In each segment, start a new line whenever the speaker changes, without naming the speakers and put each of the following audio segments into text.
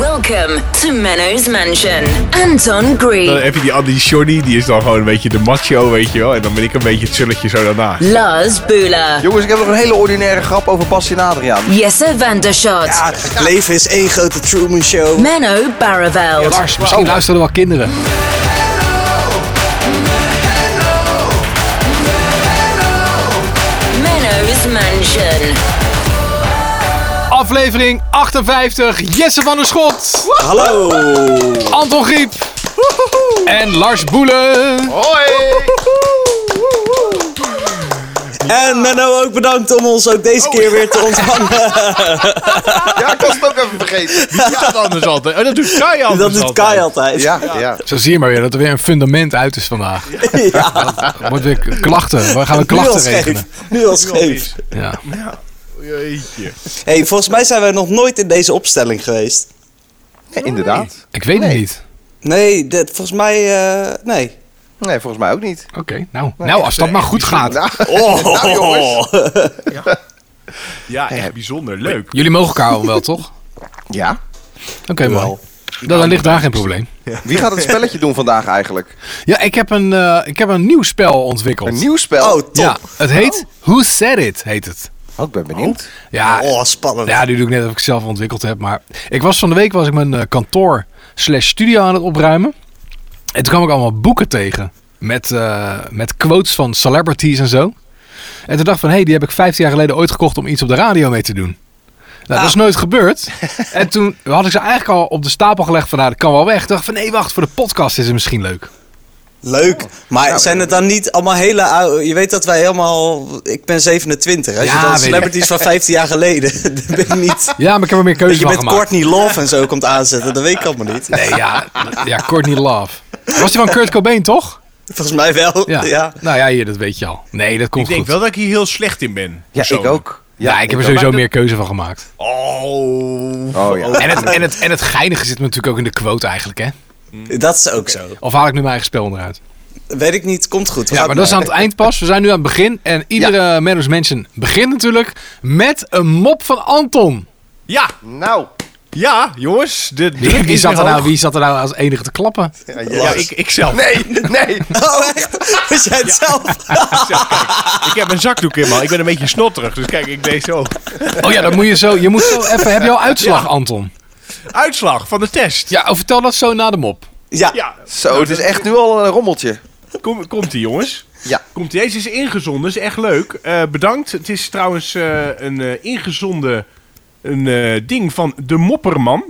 Welcome to Menno's Mansion. Anton
Dan
Green,
Eh, heb je die Andy Johnny, die is dan gewoon een beetje de macho, weet je wel. En dan ben ik een beetje het zulletje zo daarna.
Lars Bula,
Jongens, ik heb nog een hele ordinaire grap over Bastien Adriaan.
Jesse Vandershot,
Het leven is één grote Truman Show.
Menno Barreveld,
Lars, misschien luisteren er wel kinderen.
Menno's Mansion.
Aflevering 58, Jesse van der Schot,
Hallo.
Anton Griep en Lars Boelen.
En Menno, ook bedankt om ons ook deze
Oh,
keer weer te ontvangen.
Ja, ik was het ook even vergeten.
Ja, dat anders altijd. Oh, dat doet Kai anders
Dat doet Kai altijd.
Ja, ja.
Zo zie je maar weer dat er weer een fundament uit is vandaag.
Ja.
Er wordt weer k- klachten. We gaan weer
Nu al
klachten regelen.
scheef. Nu al scheef.
Ja.
Jeetje.
hey, volgens mij zijn wij nog nooit in deze opstelling geweest.
inderdaad.
Ik weet het niet.
Nee, dat, volgens mij... eh, nee.
Nee, volgens mij ook niet.
Oké, nou. nou, als dat maar goed gaat.
Oh.
Nou, jongens.
Ja, echt bijzonder. Leuk.
Jullie mogen elkaar al wel, toch?
Ja.
Oké, mooi. Dan, dan ligt daar geen probleem.
Wie gaat het spelletje doen vandaag eigenlijk?
Ja, ik heb een, eh, ik heb een nieuw spel ontwikkeld.
Een nieuw spel?
Oh, top.
Ja, het heet Who Said It, heet het.
Oh, ik ben benieuwd.
Ja,
Oh, spannend.
Ja, nu doe ik net of ik het zelf ontwikkeld heb. Maar ik was van de week was ik mijn eh, kantoor slash studio aan het opruimen. En toen kwam ik allemaal boeken tegen. Met, eh, met quotes van celebrities en zo. En toen dacht ik van, hé, hey, die heb ik 15 jaar geleden ooit gekocht om iets op de radio mee te doen.
Ah.
Nou, dat is nooit gebeurd. en toen had ik ze eigenlijk al op de stapel gelegd van, nou, dat kan wel weg. Toen dacht ik van, nee, wacht, voor de podcast is het misschien leuk. Nou,
Leuk. Maar zijn het dan niet allemaal hele oude... Je weet dat wij helemaal... Ik ben 27. Als
Ja,
je dan
weet ik.
celebrities van 15 jaar geleden... Dan ben ik niet...
Ja, maar ik heb er meer keuzes
Dat je
van
met
gemaakt.
Courtney Love en zo komt aanzetten, dat weet ik allemaal niet.
Nee, ja, ja, Courtney Love. Was die van Kurt Cobain, toch?
Volgens mij wel. Ja.
Nou ja, hier, dat weet je al. Nee, dat komt
Ik denk
goed.
wel dat ik hier heel slecht in ben.
Ja, ik
persoonlijk.
ook.
Ja, ik heb er sowieso meer keuze van gemaakt.
Oh.
Oh ja.
En het, en, het, en het geinige zit me natuurlijk ook in de quote eigenlijk, hè?
Dat is ook zo.
Of haal ik nu mijn eigen spel onderuit?
Weet ik niet, komt goed. We
Ja,
gaan
maar dat is aan
door.
het eind pas. We zijn nu aan het begin. En iedere ja. Mansion begint natuurlijk met een mop van Anton.
Ja,
Nou,
ja, jongens. De druk
Wie
is
zat,
weer
er nou,
hoog.
wie zat er nou als enige te klappen?
Ja, ik, ik zelf.
nee, nee.
Oh, echt? Was jij het zelf?
Ik heb een zakdoek in, man. Ik ben een beetje snotterig. Dus kijk, ik deed zo.
Oh ja, dan moet je zo... Je moet zo even... Heb je al uitslag, Anton?
Uitslag van de test.
Ja, oh, vertel dat zo na de mop.
Ja.
Ja.
Zo, het is echt nu al een rommeltje.
Kom, komt ie, jongens.
Ja.
Komt ie. Deze is ingezonden. Is echt leuk. Eh, bedankt. Het is trouwens eh, een eh ingezonden een, eh, ding van de Mopperman.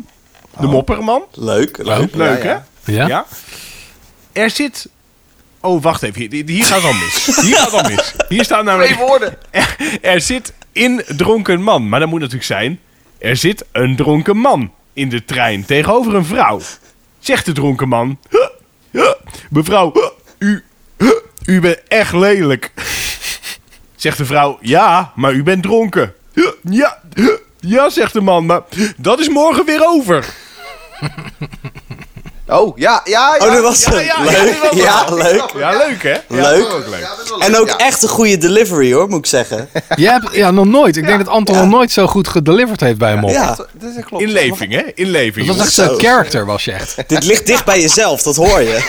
De Mopperman.
Leuk, leuk.
Leuk,
Oh. Ja, ja.
hè?
Oh, Ja?
Er zit... Oh, wacht even. Hier, hier gaat dan mis. Hier gaat dan mis. Hier staat namelijk...
Twee woorden.
Er zit in dronken man. Maar dat moet natuurlijk zijn. Er zit een dronken man in de trein tegenover een vrouw. Zegt de dronken man. "Huh, huh, Mevrouw, huh, u, huh, u bent echt lelijk. Zegt de vrouw. Ja, maar u bent dronken. "Huh, Ja, huh, ja, zegt de man. Maar dat is morgen weer over.
Oh, ja, ja, ja.
Oh, dat was
Ja,
hem.
ja, ja, dit
leuk.
was hem.
Ja, leuk.
Ja, leuk hè?
Leuk.
dat is ook leuk.
En ook echt een goede delivery hoor, moet ik zeggen.
Jij hebt... Ja, nog nooit. Ik denk dat Anton nog nooit zo goed gedeliverd heeft bij een mop.
Ja,
Dat klopt.
Inleving hè? Inleving.
Dat was echt
jongens.
zo'n character, was je echt.
dit ligt dicht bij jezelf, dat hoor je.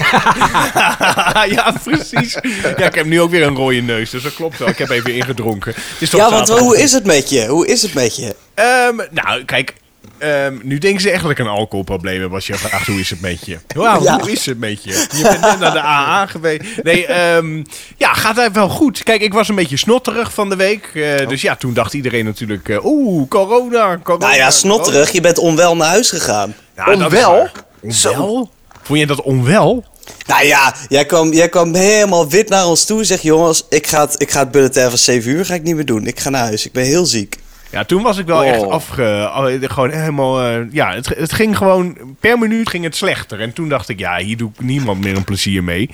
ja, precies. Ja, ik heb nu ook weer een rode neus, dus dat klopt wel. Ik heb even ingedronken. Het is toch
Ja, want
zaterdag.
hoe is het met je? Hoe is het met je?
Ehm, nou, kijk. ehm, nu denken ze echt dat ik een alcoholprobleem heb als je vraagt hoe is het met je. Wauw,
Ja.
hoe is het met je? Je bent net naar de AA geweest. Nee, ehm, ja, gaat eigenlijk wel goed. Kijk, ik was een beetje snotterig van de week. eh, Dus ja, toen dacht iedereen natuurlijk, eh, oeh, corona, corona.
Oh. Nou ja,
corona.
snotterig, je bent onwel naar huis gegaan.
Nou, dat is
Onwel?
waar. Onwel? Vond je dat onwel?
Nou ja, jij kwam, jij kwam helemaal wit naar ons toe en zegt... jongens, ik ga het, ik ga het bulletin van 7 uur ga ik niet meer doen. Ik ga naar huis, ik ben heel ziek.
Ja, toen was ik wel
Oh.
echt afge... al- Gewoon helemaal... eh, ja, het, het ging gewoon... Per minuut ging het slechter. En toen dacht ik, ja, hier doe ik niemand meer een plezier mee.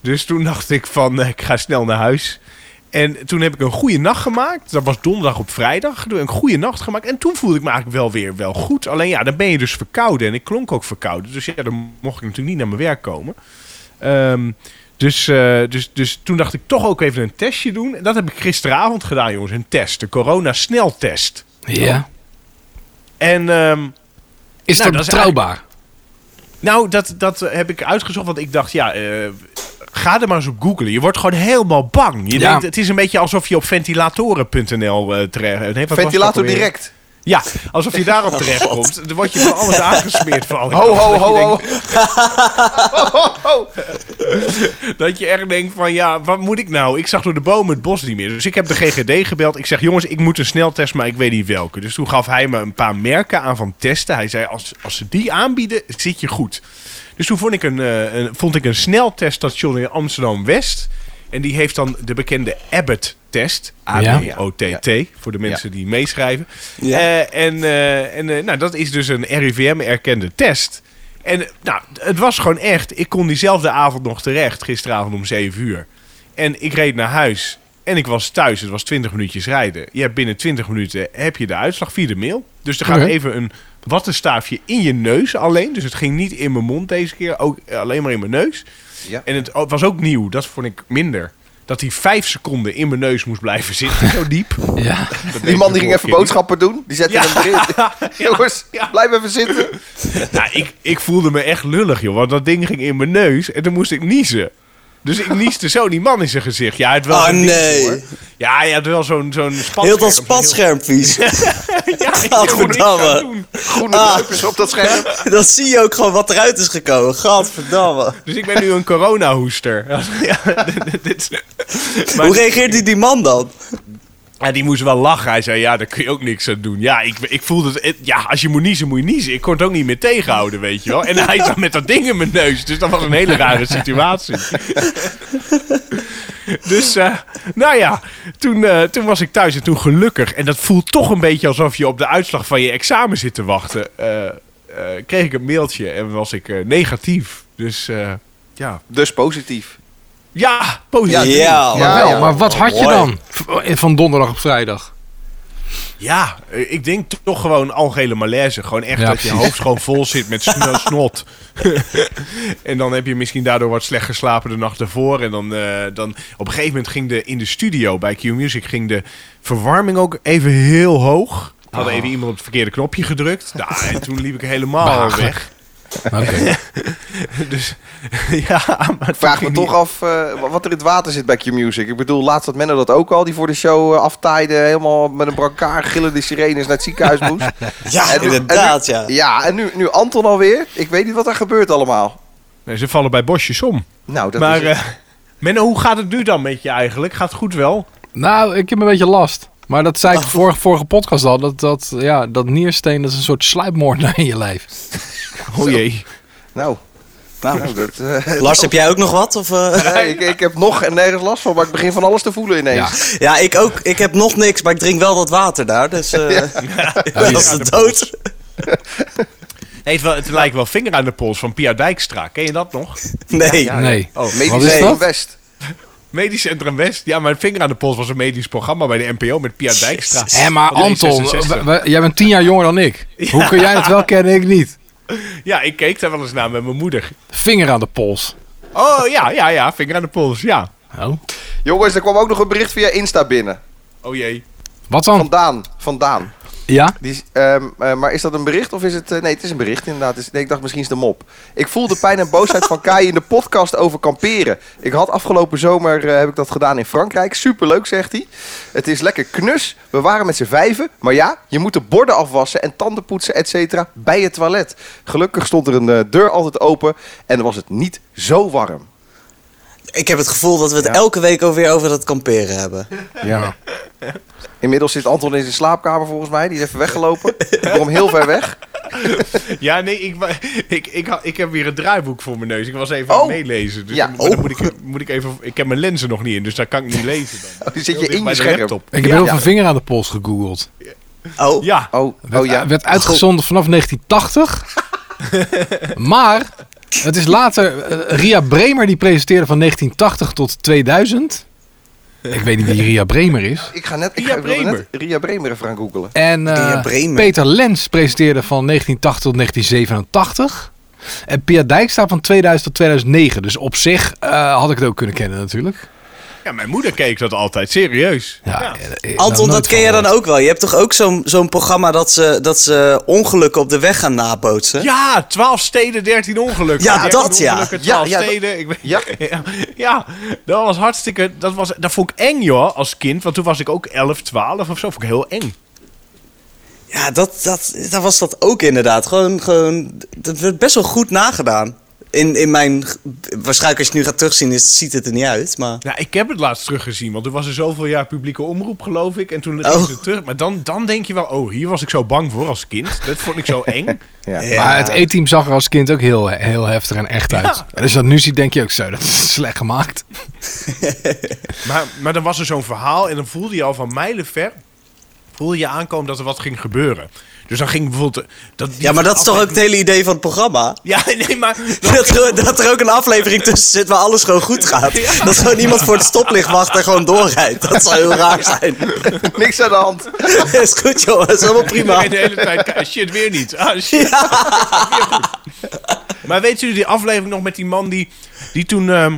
Dus toen dacht ik van, eh, ik ga snel naar huis. En toen heb ik een goede nacht gemaakt. Dat was donderdag op vrijdag. Toen heb ik een goede nacht gemaakt. En toen voelde ik me eigenlijk wel weer wel goed. Alleen ja, dan ben je dus verkouden. En ik klonk ook verkouden. Dus ja, dan mocht ik natuurlijk niet naar mijn werk komen. Ehm, dus, eh, dus, dus toen dacht ik toch ook even een testje doen. En dat heb ik gisteravond gedaan, jongens. Een test. De corona-sneltest.
Ja.
En ehm,
Is
Nou,
dat
dat is
betrouwbaar?
Nou, dat, dat heb ik uitgezocht, want ik dacht, ja, eh, ga er maar eens op googlen. Je wordt gewoon helemaal bang. Je
Ja.
denkt, het is een beetje alsof je op ventilatoren.nl eh terecht... nee, wat was dat
Ventilator
alweer?
direct.
Ja, alsof je daarop terecht komt. Dan word je van alles aangesmeerd van. alle
Ho,
kanten.
ho,
Dat je
ho, ho.
denkt- Dat je echt denkt van, ja, wat moet ik nou? Ik zag door de bomen het bos niet meer. Dus ik heb de GGD gebeld. Ik zeg, jongens, ik moet een sneltest, maar ik weet niet welke. Dus toen gaf hij me een paar merken aan van testen. Hij zei, als, als ze die aanbieden, zit je goed. Dus toen vond ik een, eh, een, vond ik een snelteststation in Amsterdam-West. En die heeft dan de bekende Abbott-test. A-B-O-T-T, voor de mensen die meeschrijven.
Ja.
Eh, en eh, en eh, nou, dat is dus een RIVM-erkende test. En eh, nou, het was gewoon echt. Ik kon diezelfde avond nog terecht, gisteravond om 7 uur. En ik reed naar huis. En ik was thuis, het was 20 minuutjes rijden. Ja, binnen 20 minuten heb je de uitslag via de mail. Dus er gaat
Oké.
even een wattenstaafje in je neus alleen. Dus het ging niet in mijn mond deze keer, ook eh, alleen maar in mijn neus.
Ja.
En het o- was ook nieuw, dat vond ik minder. Dat hij vijf seconden in mijn neus moest blijven zitten, zo diep.
Ja.
Die man die ging even boodschappen doen. Die zette
Ja.
hem erin. Jongens,
Ja.
blijf even zitten.
Nou, ik, ik voelde me echt lullig, joh. Want dat ding ging in mijn neus en toen moest ik niezen. Dus ik nieste zo die man in zijn gezicht. Ja, het wel
Oh,
zo'n ding,
nee.
hoor. Ja, hij had wel zo'n zo'n spatscherm.
Heel dat spatschermvies.
Ja, ik kon niks aan
Gadverdamme.
doen.
Groene
Ah.
druipers op dat scherm.
Dan zie je ook gewoon wat eruit is gekomen. Gadverdamme.
Dus ik ben nu een coronahoester. Ja, dit- dit is- maar
Hoe reageert die, die man dan?
ja, die moest wel lachen. Hij zei, ja, daar kun je ook niks aan doen. Ja, ik, ik voelde het, het- Ja, als je moet niezen, moet je niezen. Ik kon het ook niet meer tegenhouden, weet je wel. En hij zat met dat ding in mijn neus. Dus dat was een hele rare situatie. Dus, eh, nou ja, toen, eh, toen was ik thuis en toen gelukkig. En dat voelt toch een beetje alsof je op de uitslag van je examen zit te wachten. eh, eh, kreeg ik een mailtje en was ik eh, negatief. Dus, eh, ja...
Dus positief.
Ja, positief.
Ja,
Ja,
Ja,
Maar
Ja,
wel,
ja.
maar wat had je
Mooi.
dan v- van donderdag op vrijdag?
eh, ik denk toch gewoon algehele malaise. Gewoon echt
Ja,
dat je
precies.
hoofd gewoon vol zit met sn- snot. en dan heb je misschien daardoor wat slecht geslapen de nacht ervoor. En dan, eh, dan op een gegeven moment ging de in de studio bij Q Music ging de verwarming ook even heel hoog. Had
Ah.
even iemand op het verkeerde knopje gedrukt. Nou, en toen liep ik helemaal
Behagen.
weg.
Oké.
Dus ja, maar toen
Ik vraag me
ging
toch af eh, wat er in het water zit bij Q-Music. Ik bedoel, laatst had Menno dat ook al. Die voor de show eh, aftaaide helemaal met een brancard gillende sirenes naar het ziekenhuis moest.
Ja,
nu-
inderdaad,
en
ja.
nu, ja. en nu, nu Anton alweer. Ik weet niet wat er gebeurt allemaal.
die- Nee, ze vallen bij bosjes om.
Nou, dat
maar
is het.
eh Menno, hoe gaat het nu dan met je eigenlijk? Gaat het goed wel?
Nou, ik heb een beetje last. Maar dat zei ik vorige, vorige podcast al. Dat, dat, ja, dat niersteen dat is een soort sluipmoordenaar in je lijf.
Oh jee.
nou, nou, dat, eh,
Lars, heb jij ook nog wat? Of, eh?
nee, ik, ik heb nog en nergens last van, maar ik begin van alles te voelen ineens.
Ja, ik ook. Ik heb nog niks, maar ik drink wel dat water daar. Dus eh dat is de dood.
Nee, het, wel- het lijkt wel vinger aan de pols van Pia Dijkstra. Ken je dat nog?
Nee.
Nee.
Oh,
Medisch
Wat is
Centrum
dat?
West.
Medisch Centrum West. Ja, maar vinger aan de pols was een medisch programma bij de NPO met Pia Dijkstra.
Hé, maar
Van de
Anton,
D66.
w- w- jij bent tien jaar jonger dan ik. Hoe kun jij dat wel kennen, ik niet?
Ja, ik keek daar wel eens naar met mijn moeder.
Vinger aan de pols.
Oh ja, ja, ja, vinger aan de pols, ja.
Oh.
Jongens, er kwam ook nog een bericht via Insta binnen.
Oh jee.
Wat dan?
Vandaan, vandaan.
Ja?
Die, is- ehm, eh, maar is dat een bericht of is het... eh, nee, het is een bericht inderdaad. Het is- nee, ik dacht misschien is het een mop. Ik voel de pijn en boosheid van Kai in de podcast over kamperen. Ik had afgelopen zomer eh, heb ik dat gedaan in Frankrijk. Superleuk, zegt hij. Het is lekker knus. We waren met z'n vijven. Maar ja, je moet de borden afwassen en tanden poetsen, et cetera, bij het toilet. Gelukkig stond er een eh, deur altijd open en dan was het niet zo warm.
Ik heb het gevoel dat we het elke week ook weer over dat kamperen hebben.
Ja.
Inmiddels zit Anton in zijn slaapkamer volgens mij. Die is even weggelopen. Ik kom heel ver weg.
Ja, nee, ik, wa- ik, ik, ha- ik heb weer een draaiboek voor mijn neus. Ik was even aan
Oh.
het meelezen. Dus
Ja,
dan, moet- dan
oh.
moet, ik, moet ik even... Ik heb mijn lenzen nog niet in, dus daar kan ik niet lezen dan.
Oh, die zit je
Heel dicht
in
bij
je
de
scherm.
laptop.
Ik heb heel veel vinger aan de pols gegoogeld.
Oh,
Ja,
Oh,
Werd,
oh ja.
werd uitgezonden vanaf 1980. maar het is later... eh, Ria Bremer die presenteerde van 1980 tot 2000. Ik weet niet wie Ria Bremer is.
Ik ga net, ik
Ria
ga, wilde
Bremer.
net Ria Bremer even gaan googelen.
En eh,
Pia Bremer.
Peter Lens presenteerde van 1980 tot 1987. En Pia Dijkstra van 2000 tot 2009. Dus op zich eh, had ik het ook kunnen kennen natuurlijk.
Ja, mijn moeder keek dat altijd serieus.
Ja, eh, nou,
Anton, dat ken jij dan ook wel. Je hebt toch ook zo'n zo'n programma dat ze, dat ze ongelukken op de weg gaan nabootsen?
Ja, 12 steden, 13 ongelukken.
Ja,
13
dat ja.
ongelukken,
Ja,
12
ja, dat-
steden. Ik weet-
ja.
ja. ja, dat was hartstikke. Dat, was, dat vond ik eng, joh, als kind. Want toen was ik ook 11, 12 of zo. Vond ik heel eng.
Ja, dat, dat, dat was dat ook inderdaad. Gewoon, gewoon, dat werd best wel goed nagedaan. In, in mijn, waarschijnlijk als je het nu gaat terugzien, is, ziet het er niet uit. Maar
Nou, ik heb het laatst teruggezien, want er was er zoveel jaar publieke omroep, geloof ik. En toen
Oh.
is het terug. Maar dan, dan denk je wel, oh, hier was ik zo bang voor als kind. Dat vond ik zo eng.
Ja.
Maar het E-team zag er als kind ook heel, heel heftig en echt uit.
Ja.
En als je dat nu ziet, denk je ook zo, dat is slecht gemaakt.
Maar, maar dan was er zo'n verhaal en dan voelde je al van mijlenver... voelde je aankomen dat er wat ging gebeuren. Dus dan ging bijvoorbeeld... Dat, die
ja, maar dat is toch ook het
aflevering-
hele idee van het programma?
Ja, nee, maar...
Dat er, dat er ook een aflevering tussen zit waar alles gewoon goed gaat. Dat gewoon iemand voor het stoplicht wacht en gewoon doorrijdt. Dat zou heel raar zijn.
Niks aan de hand.
Is goed, joh. Is helemaal prima.
En de hele tijd, ah, shit, weer niet. Ah, shit. Weer goed. Maar weet jullie die aflevering nog met die man die, die toen ehm,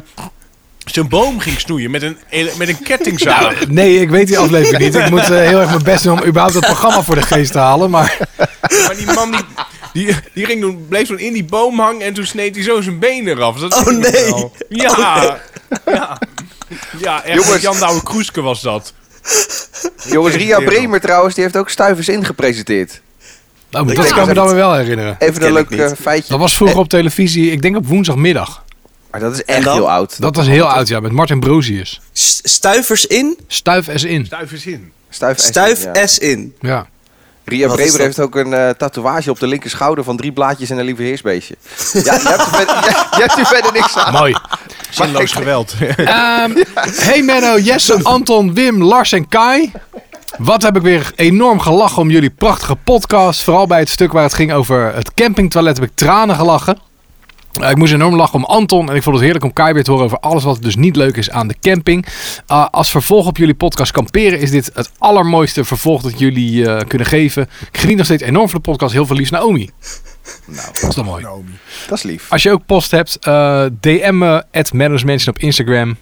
zijn boom ging snoeien met een, ele- met een kettingzaag?
Nee, ik weet die aflevering niet. Ik moet eh, heel erg mijn best doen om überhaupt dat programma voor de geest te halen. Maar Nou,
Maar die man die, die, die ging toen, bleef toen in die boom hangen en toen sneed hij zo zijn been eraf. Dat
Oh,
weet ik nog
nee.
wel. Ja. ja. Ja, echt,
Jongens.
Jan Douwe Kroeske was dat.
Jongens, Ria Bremer trouwens, die heeft ook Stuivers ingepresenteerd.
nou, dat
denk
kan ik
dat
me dan
het-
weer wel herinneren.
Even
ken
een
ik
leuk
niet.
eh, feitje.
Dat was vroeger op televisie, ik denk op woensdagmiddag.
Maar dat is echt
dan?
heel oud.
Dat was heel oud, ja, met Martin Brozius.
S- Stuivers in,
Stuif S in.
Stuivers in.
Stuif,
stuif
ja.
S in.
Ja.
Ria
Wat is
Bremer
dat?
heeft ook een eh, tatoeage op de linker schouder van drie blaadjes en een lieve heersbeestje. Ja, je hebt er verder, je, je hebt er verder niks aan.
Mooi.
Zinloos geweld.
Ehm, hey Menno, Jesse, Anton, Wim, Lars en Kai. Wat heb ik weer enorm gelachen om jullie prachtige podcast. Vooral bij het stuk waar het ging over het campingtoilet heb ik tranen gelachen. Eh, ik moest enorm lachen om Anton en ik vond het heerlijk om Kai weer te horen over alles wat dus niet leuk is aan de camping. Eh, als vervolg op jullie podcast kamperen is dit het allermooiste vervolg dat jullie eh, kunnen geven. Ik geniet nog steeds enorm van de podcast. Heel veel liefs Naomi. Nou, dat is dan mooi.
Dat is lief.
Als je ook post hebt, eh, DM me at Mansion op Instagram.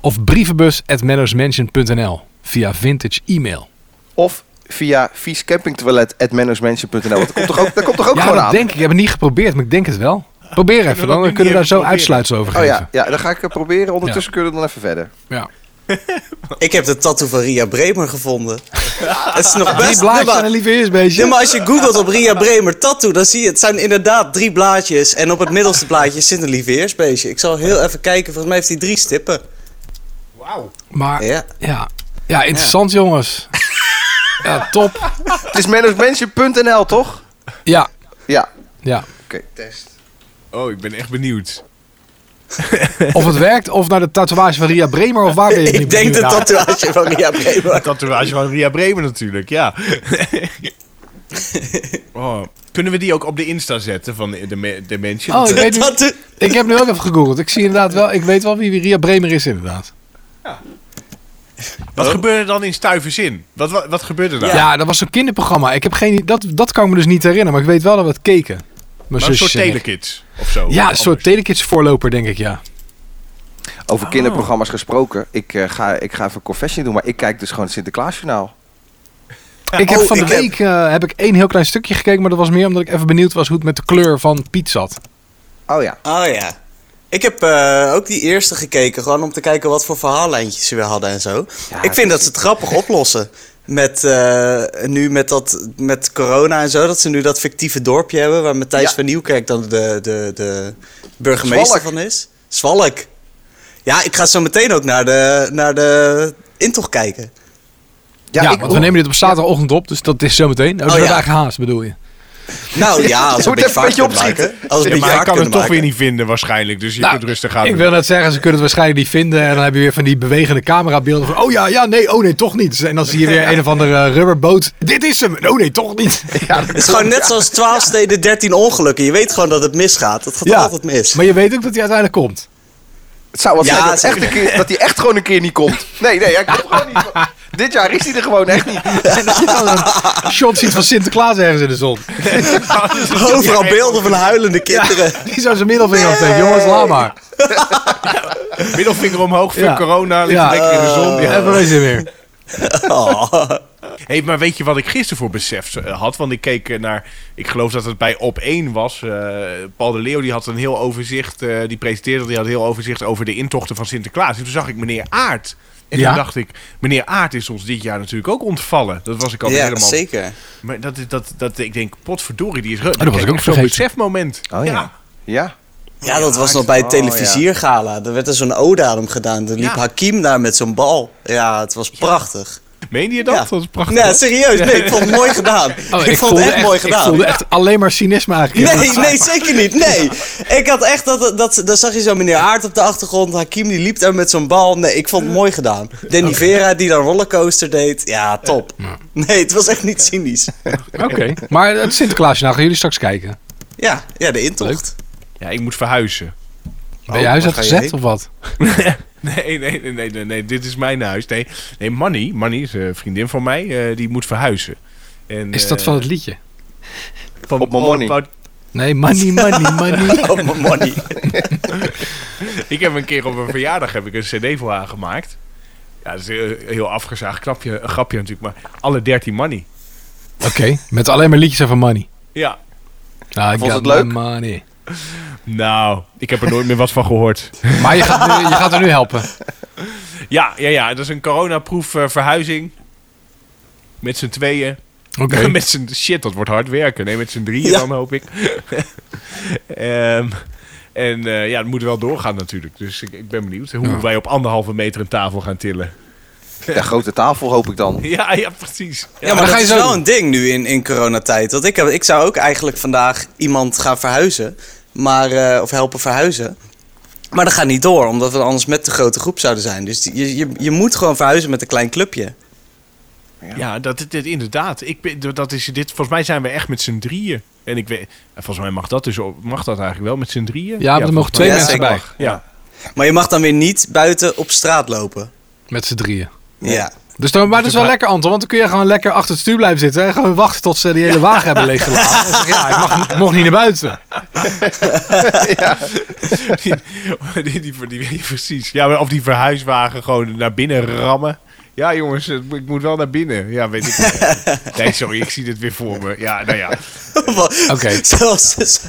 Of brievenbus at mannersmansion.nl via vintage e-mail.
Of via viescampingtoilet.mannersmansion.nl. Want Dat komt toch ook, dat komt toch ook
Ja,
gewoon
dat
aan?
denk ik. Ik heb het niet geprobeerd, maar ik denk het wel. Probeer even,
dat
dan
op die
kunnen we
manier
daar zo
proberen?
uitsluitsel over
Oh
geven.
ja, ja, dan ga ik het proberen. Ondertussen kunnen we dan even verder.
Ja.
Ik heb de tattoo van Ria Bremer gevonden. Het is nog
Drie
Ah, best...
blaadjes
Nee,
aan
maar-
een lieve
Ja, maar
heersbeestje.
als je googelt op Ria Bremer tattoo, dan zie je het zijn inderdaad drie blaadjes. En op het middelste blaadje zit een lieveheersbeestje. Ik zal heel even kijken, volgens mij heeft hij drie stippen.
Wauw.
Maar
Ja.
ja, ja interessant jongens. Ja, top.
Het is mannersmansion.nl, toch?
Ja,
Ja.
ja.
Oké, test.
Oh, ik ben echt benieuwd.
Of het werkt, of naar de tatoeage van Ria Bremer, of waar ben je
Ik denk de
dat.
tatoeage van Ria Bremer.
Tatoeage van Ria Bremen natuurlijk, ja. oh. Kunnen we die ook op de Insta zetten van de, de, me- de mensen?
Oh, ik weet niet.
Tattoo-
Ik heb nu ook even gegoogeld. Ik zie inderdaad wel, ik weet wel wie wie Ria Bremer is inderdaad.
Wat gebeurde er dan in Stuiverzin? Wat, wat, wat gebeurde daar?
Ja, dat was zo'n kinderprogramma. Ik heb geen, dat, dat kan ik me dus niet herinneren, maar ik weet wel dat we het keken. Mijn
Maar een soort
zusje en ik.
telekids of zo.
Ja, een
Anders.
soort telekids voorloper, denk ik, ja.
Over kinderprogramma's gesproken. Ik, eh, ga, ik ga even een confession doen, maar ik kijk dus gewoon het Sinterklaasjournaal.
Ik heb
Oh,
van de
ik heb-
week eh, heb ik één heel klein stukje gekeken, maar dat was meer omdat ik even benieuwd was hoe het met de kleur van Piet zat.
Oh ja.
Oh ja. Ik heb eh, ook die eerste gekeken, gewoon om te kijken wat voor verhaallijntjes ze weer hadden en zo.
Ja,
ik vind dat ze het grappig oplossen. Met, eh, nu met, dat, met corona en zo, dat ze nu dat fictieve dorpje hebben... waar Matthijs
Ja.
van Nieuwkerk dan de, de, de burgemeester
Zwalk.
van is. Zwalk. Ja, ik ga zo meteen ook naar de, naar de intocht kijken.
Ja,
ik,
want we nemen dit op zaterdagochtend op, dus dat is zometeen. Oh, dus
Oh,
we
ja.
hebben haast, bedoel je?
Nou ja, als
Je
we een
moet even
beetje
een
vaart
beetje
kunnen maken.
opschieten.
Als we
Ja, maar hij
een beetje vaart
kan het
kunnen
toch weer
maken.
niet vinden waarschijnlijk. Dus je
Nou,
kunt rustig gaan
Ik
doen.
wil net zeggen, ze kunnen het waarschijnlijk niet vinden. En dan heb je weer van die bewegende camerabeelden van... Oh ja, ja, nee, oh nee, toch niet. En dan zie je weer een of andere eh, rubberboot. Dit is hem! Oh nee, toch niet. Ja,
Het is gewoon net zoals 12 steden, 13 ongelukken. Je weet gewoon dat het misgaat. Het gaat altijd mis.
maar je weet ook dat hij uiteindelijk komt.
Het zou wel
Ja,
zijn dat,
zeg
echt een keer, dat hij echt gewoon een keer niet komt. Nee, nee, hij komt gewoon niet. Dit jaar is hij er gewoon echt niet.
En dat je dan een shot ziet van Sinterklaas ergens in de zon.
Overal beelden van huilende kinderen.
Die zou zijn middelvinger afsteken. Jongens, laat maar.
Middelvinger omhoog, fuck
Ja.
corona, ligt
Ja.
lekker in de zon. Ja.
Even wezen weer.
Oh.
Hey, maar weet je wat ik gisteren voor besef eh, had? Want ik keek eh, naar, ik geloof dat het bij Op 1 was. Eh, Paul de Leeuw die had een heel overzicht, eh, die presenteerde, dat, die had een heel overzicht over de intochten van Sinterklaas. En toen zag ik meneer Aart. En
Ja.
toen dacht ik, meneer Aart is ons dit jaar natuurlijk ook ontvallen. Dat was ik al
Ja,
helemaal...
zeker.
Maar dat, is- dat, dat, ik denk, potverdorie, die is... ruk.
Oh, dat was ik ook
echt zo'n
vergeten.
besefmoment.
Oh ja. Ja.
Ja, dat was nog bij het
Oh,
televisiergala. Er werd er zo'n ode aan hem gedaan. Er liep
Ja.
Hakim daar met zo'n bal. Ja, het was prachtig.
Meende je dat?
Ja.
Dat was prachtig.
Nee, serieus. Nee, ik vond het mooi gedaan. ik, vond het echt, mooi gedaan.
Ik Oh, voelde echt alleen maar cynisme eigenlijk.
Nee, nee, zeker niet. Nee. Ik had echt dat, dat. Daar zag je zo meneer Aard op de achtergrond. Hakim die liep daar met zo'n bal. Nee, ik vond het mooi gedaan. Danny Vera die daar rollercoaster deed. Ja, top. Nee, het was echt niet cynisch.
Oké, maar het Sinterklaasje, nou gaan jullie straks kijken.
Ja, ja de intocht.
Ja, ik moet verhuizen.
Ben je huis
waar Oh, ga je
uitgezet
heen?
of wat?
Nee, nee, nee, nee, nee, nee, dit is mijn huis. Nee, nee Manny, Manny is een vriendin van mij, eh, die moet verhuizen. En,
Is dat
eh,
van het liedje?
van
Op mijn
All
money.
About-
Nee, money, money, money.
Oh, mijn money.
Ik heb een keer op een verjaardag heb ik een cd voor haar gemaakt. Ja, dat is een heel afgezaagd knapje, een grapje natuurlijk, maar alle 13 Manny.
Oké, met alleen maar liedjes over money.
Ja,
Nou, ik
Vond
got
het leuk?
my money.
nou, ik heb er nooit meer wat van gehoord.
Maar je gaat, nu, je gaat er nu helpen.
Ja, ja, ja, dat is een coronaproof eh, verhuizing. Met z'n tweeën.
Oké.
met z'n shit, dat wordt hard werken. Nee, met z'n drieën
Ja.
dan hoop ik. Ehm, en eh, ja, het moet wel doorgaan natuurlijk. Dus ik, ik ben benieuwd hoe wij op anderhalve meter een tafel gaan tillen.
Ja, grote tafel hoop ik dan.
Ja, ja, precies. Ja.
Ja, maar,
dan
dat
ga je
is
zo
wel
doen.
een ding nu in, in coronatijd. Want ik, heb, ik zou ook eigenlijk vandaag iemand gaan verhuizen. Maar, eh, of helpen verhuizen. Maar dat gaat niet door, omdat we anders met de grote groep zouden zijn. Dus je, je, je moet gewoon verhuizen met een klein clubje.
Ja, dat, dit, dit- inderdaad. Ik, ben- dat is dit, volgens mij zijn we echt met z'n drieën. En ik weet, volgens mij mag dat dus ook- mag dat eigenlijk wel met z'n drieën.
Ja, maar er mogen
volgens
twee
mij-
Ja,
mensen
zeker.
bij.
Ja.
Maar je mag dan weer niet buiten op straat lopen.
Met z'n drieën.
Ja.
Dus dan, maar dat is wel lekker, Anton. Want dan kun je gewoon lekker achter het stuur blijven zitten. En gewoon wachten tot ze die hele wagen hebben leeggelaten. En zeggen, ja, ik mag niet- mocht niet naar buiten.
die, die, die, die- die- precies. Ja, maar of die verhuiswagen gewoon naar binnen rammen. Ja, jongens, het- ik moet wel naar binnen. Ja, weet ik. niet. nee, sorry, ik zie dit weer voor me. Ja, nou ja.
Oké.
Zoals, dus-